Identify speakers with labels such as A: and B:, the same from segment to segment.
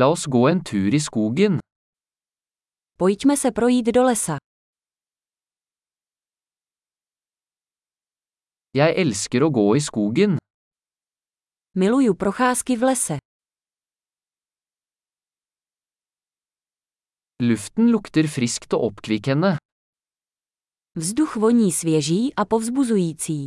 A: La oss gå en tur i skogen.
B: Pojďme se projít do lesa.
A: Jeg elsker å gå i skogen.
B: Miluju procházky v lese.
A: Luften lukter friskt og oppkvikkende.
B: Vzduch voní svěží a povzbuzující.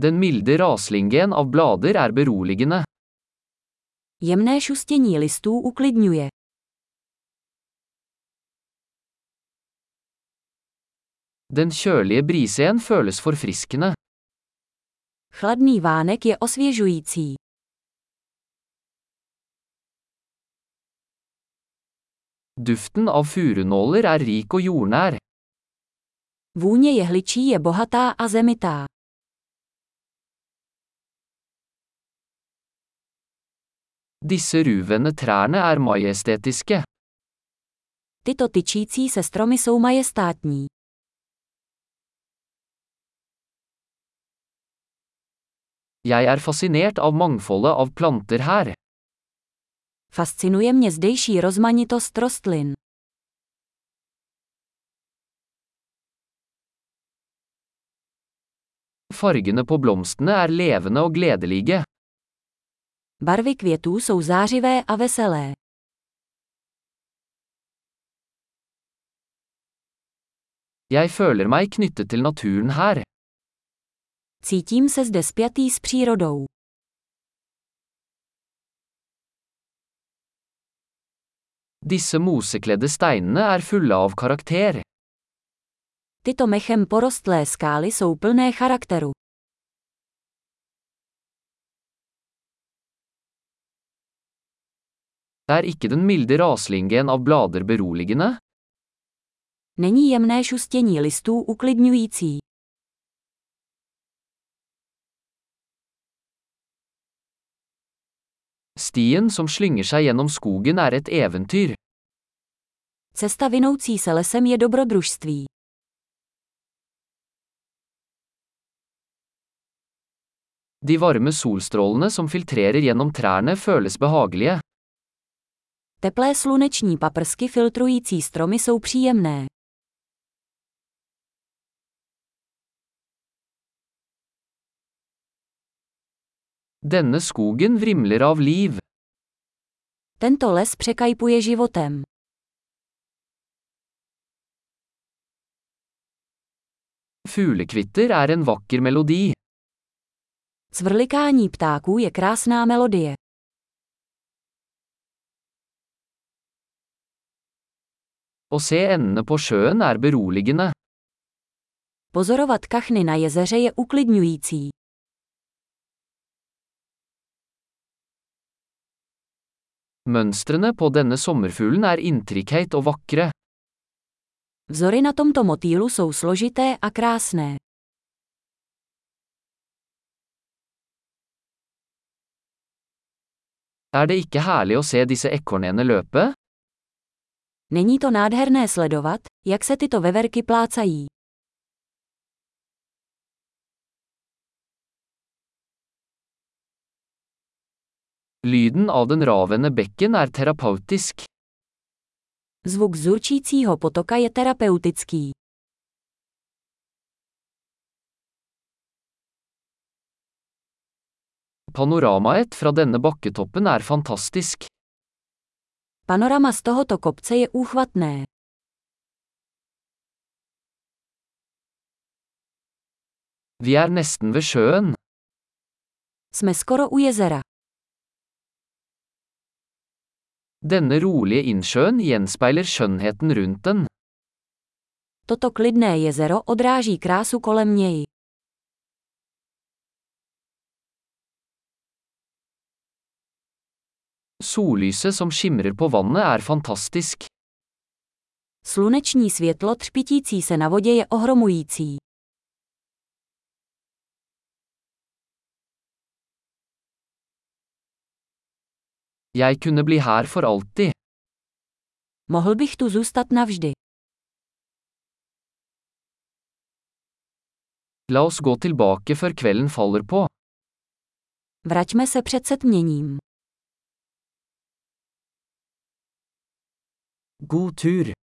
A: Den milde raslingen av blader er beroligende.
B: Jemné šustění listů uklidňuje.
A: Den kjølige brisen føles forfriskende.
B: Chladný vánek je osvěžující.
A: Duften av furunåler er rik og jordnær.
B: Vůně jehličí je bohatá a zemitá.
A: Disse ruvende trærne er majestetiske.
B: Tyto tyčící se stromy jsou majestátní.
A: Jeg er fascinert av mangfoldet av planter her.
B: Fascinuje mě zdejší rozmanitost rostlin.
A: Fargene på blomstene er levende og gledelige.
B: Barvy květů jsou zářivé a veselé.
A: Jeg føler meg knyttet til naturen her.
B: Cítím se zde spjatý s přírodou.
A: Disse mosekledde steinene er fulle av karakter.
B: Tyto mechem porostlé skály jsou plné charakteru.
A: Er ikke den milde raslingen av blader beroligende?
B: Není jemné šustění listů uklidňující.
A: Stien som slynger seg gjennom skogen er et eventyr.
B: Cesta vinoucí se lesem je dobrodružství.
A: De varme solstrålene som filtrerer gjennom trærne føles behagelige.
B: Teplé sluneční paprsky filtrující stromy jsou příjemné.
A: Denne skogen vrimler av liv.
B: Tento les překajpuje životem.
A: Fuglekvitter er en vakker melodi.
B: Cvrlikání ptáků je krásná melodie.
A: Å se endene på sjøen er beroligende.
B: Pozorovat kachny na jezeře je uklidňující.
A: Mønstrene på denne sommerfuglen er intrikate og vakre.
B: Vzory na tomto motýlu jsou složité a krásné.
A: Er det ikke herlig å se disse ekornene løpe?
B: Není to nádherné sledovat, jak se tyto veverky plácají.
A: Lyden av den ravende bekken er terapeutisk.
B: Zvuk zurčícího potoka je terapeutický.
A: Panoramaet fra denne bakketoppen er fantastisk.
B: Panorama z tohoto kopce je úchvatné.
A: Vi er nesten ved sjøen.
B: Jsme skoro u jezera.
A: Denne rolige innsjøen gjenspeiler skjønnheten rundt den.
B: Toto klidné jezero odráží krásu kolem něj.
A: Sollyset som skimrer på vannet er fantastisk.
B: Sluneční světlo třpitící se na vodě je ohromující.
A: Jeg kunne bli her for alltid.
B: Mohl bych tu zůstat navždy.
A: La oss gå tilbake før kvelden faller på.
B: Vraťme se před setměním.
A: God tur!